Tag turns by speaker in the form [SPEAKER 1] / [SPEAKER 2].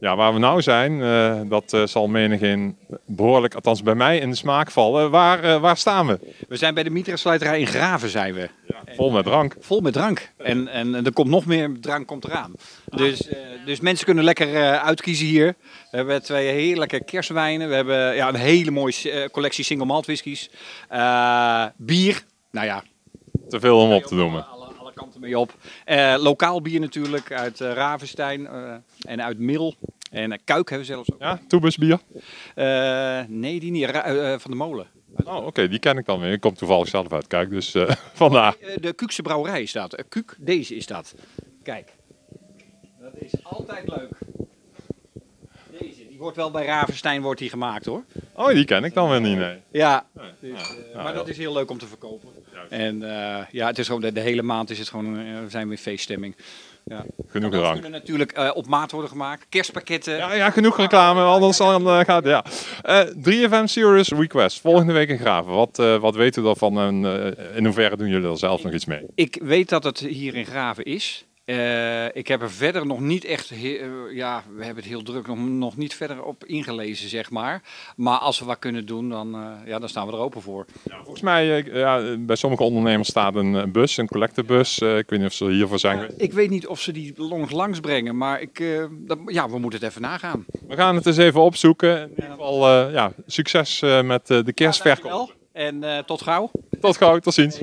[SPEAKER 1] Ja, waar we nou zijn, eh, dat eh, zal menigeen behoorlijk, althans bij mij, in de smaak vallen. Waar, eh, waar staan we?
[SPEAKER 2] We zijn bij de Mitra-slijterij in Graven, zijn we.
[SPEAKER 1] Vol met drank.
[SPEAKER 2] Vol met drank. En, en, en er komt nog meer drank komt eraan. Dus, eh, dus mensen kunnen lekker eh, uitkiezen hier. We hebben twee heerlijke kerstwijnen. We hebben ja, een hele mooie eh, collectie single malt whiskies. Eh, bier. Nou ja,
[SPEAKER 1] Te veel om op te noemen.
[SPEAKER 2] Alle, alle- alle kanten mee op. Eh, lokaal bier natuurlijk uit eh, Ravenstein eh, en uit Middel. En eh, Kuik hebben we zelfs ook.
[SPEAKER 1] Ja, toebusbier.
[SPEAKER 2] Eh, nee, die niet. Ra- eh, eh, van de Molen.
[SPEAKER 1] Oh, oké, die ken ik dan weer. Ik kom toevallig zelf uit Kijk, dus eh, vandaar.
[SPEAKER 2] Eh, de Kuukse brouwerij is dat. Eh, Kuuk, deze is dat. Kijk. Dat is altijd leuk. Deze, die wordt wel bij Ravenstein wordt die gemaakt hoor.
[SPEAKER 1] Oh, die ken ik dan weer niet, nee.
[SPEAKER 2] Ja,
[SPEAKER 1] Nee,
[SPEAKER 2] dus, eh,
[SPEAKER 1] ja,
[SPEAKER 2] maar dat
[SPEAKER 1] ja.
[SPEAKER 2] is heel leuk om te verkopen.
[SPEAKER 1] Juist.
[SPEAKER 2] En eh, ja, het is gewoon de, de hele maand is het gewoon, eh, we zijn weer feeststemming. Ja.
[SPEAKER 1] Genoeg
[SPEAKER 2] Dat
[SPEAKER 1] drank.
[SPEAKER 2] kunnen natuurlijk eh, op maat worden gemaakt. Kerstpakketten.
[SPEAKER 1] Ja, ja, genoeg reclame, anders dan eh, gaat ja. Eh 3FM Serious Request, volgende week in Graven. Wat, eh, wat weten we daarvan en eh, in hoeverre doen jullie er zelf nog iets mee?
[SPEAKER 2] Ik weet dat het hier in Graven is. Eh, ik heb er verder nog niet echt, he- eh, ja, we hebben het heel druk, nog, nog niet verder op ingelezen, zeg maar. Maar als we wat kunnen doen, dan, eh, ja, dan staan we er open voor.
[SPEAKER 1] Volgens mij, eh, ja, bij sommige ondernemers staat een eh, bus, een collectebus. Eh, ik weet niet of ze hiervoor zijn. geweest.
[SPEAKER 2] Eh, Ik weet niet of ze die longs langs brengen, maar ik, eh, dat- ja, we moeten het even nagaan.
[SPEAKER 1] We gaan het eens even opzoeken. In ieder geval, eh, ja, succes eh, met eh, de kerstverkoop.
[SPEAKER 2] En eh, tot gauw.
[SPEAKER 1] Tot gauw, tot ziens.